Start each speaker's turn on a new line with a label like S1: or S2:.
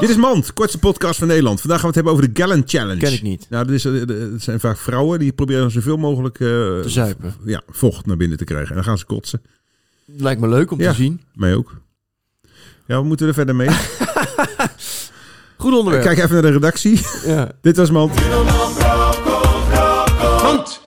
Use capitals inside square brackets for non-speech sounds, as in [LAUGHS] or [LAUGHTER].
S1: Dit is Mand, kortste podcast van Nederland. Vandaag gaan we het hebben over de Gallon Challenge.
S2: Ken ik niet.
S1: Nou, dat, is, eh, dat zijn vaak vrouwen die proberen zoveel mogelijk eh,
S2: Te zuipen.
S1: v- ja, vocht naar binnen te krijgen. En dan gaan ze kotsen.
S2: Lijkt me leuk om
S1: Ja.
S2: te zien.
S1: Mij ook. Ja, we moeten er verder
S2: [LAUGHS]
S1: mee.
S2: Goed onderwerp. [LAUGHS]
S1: Kijk even naar de redactie.
S2: Ja.
S1: Dit was Mand.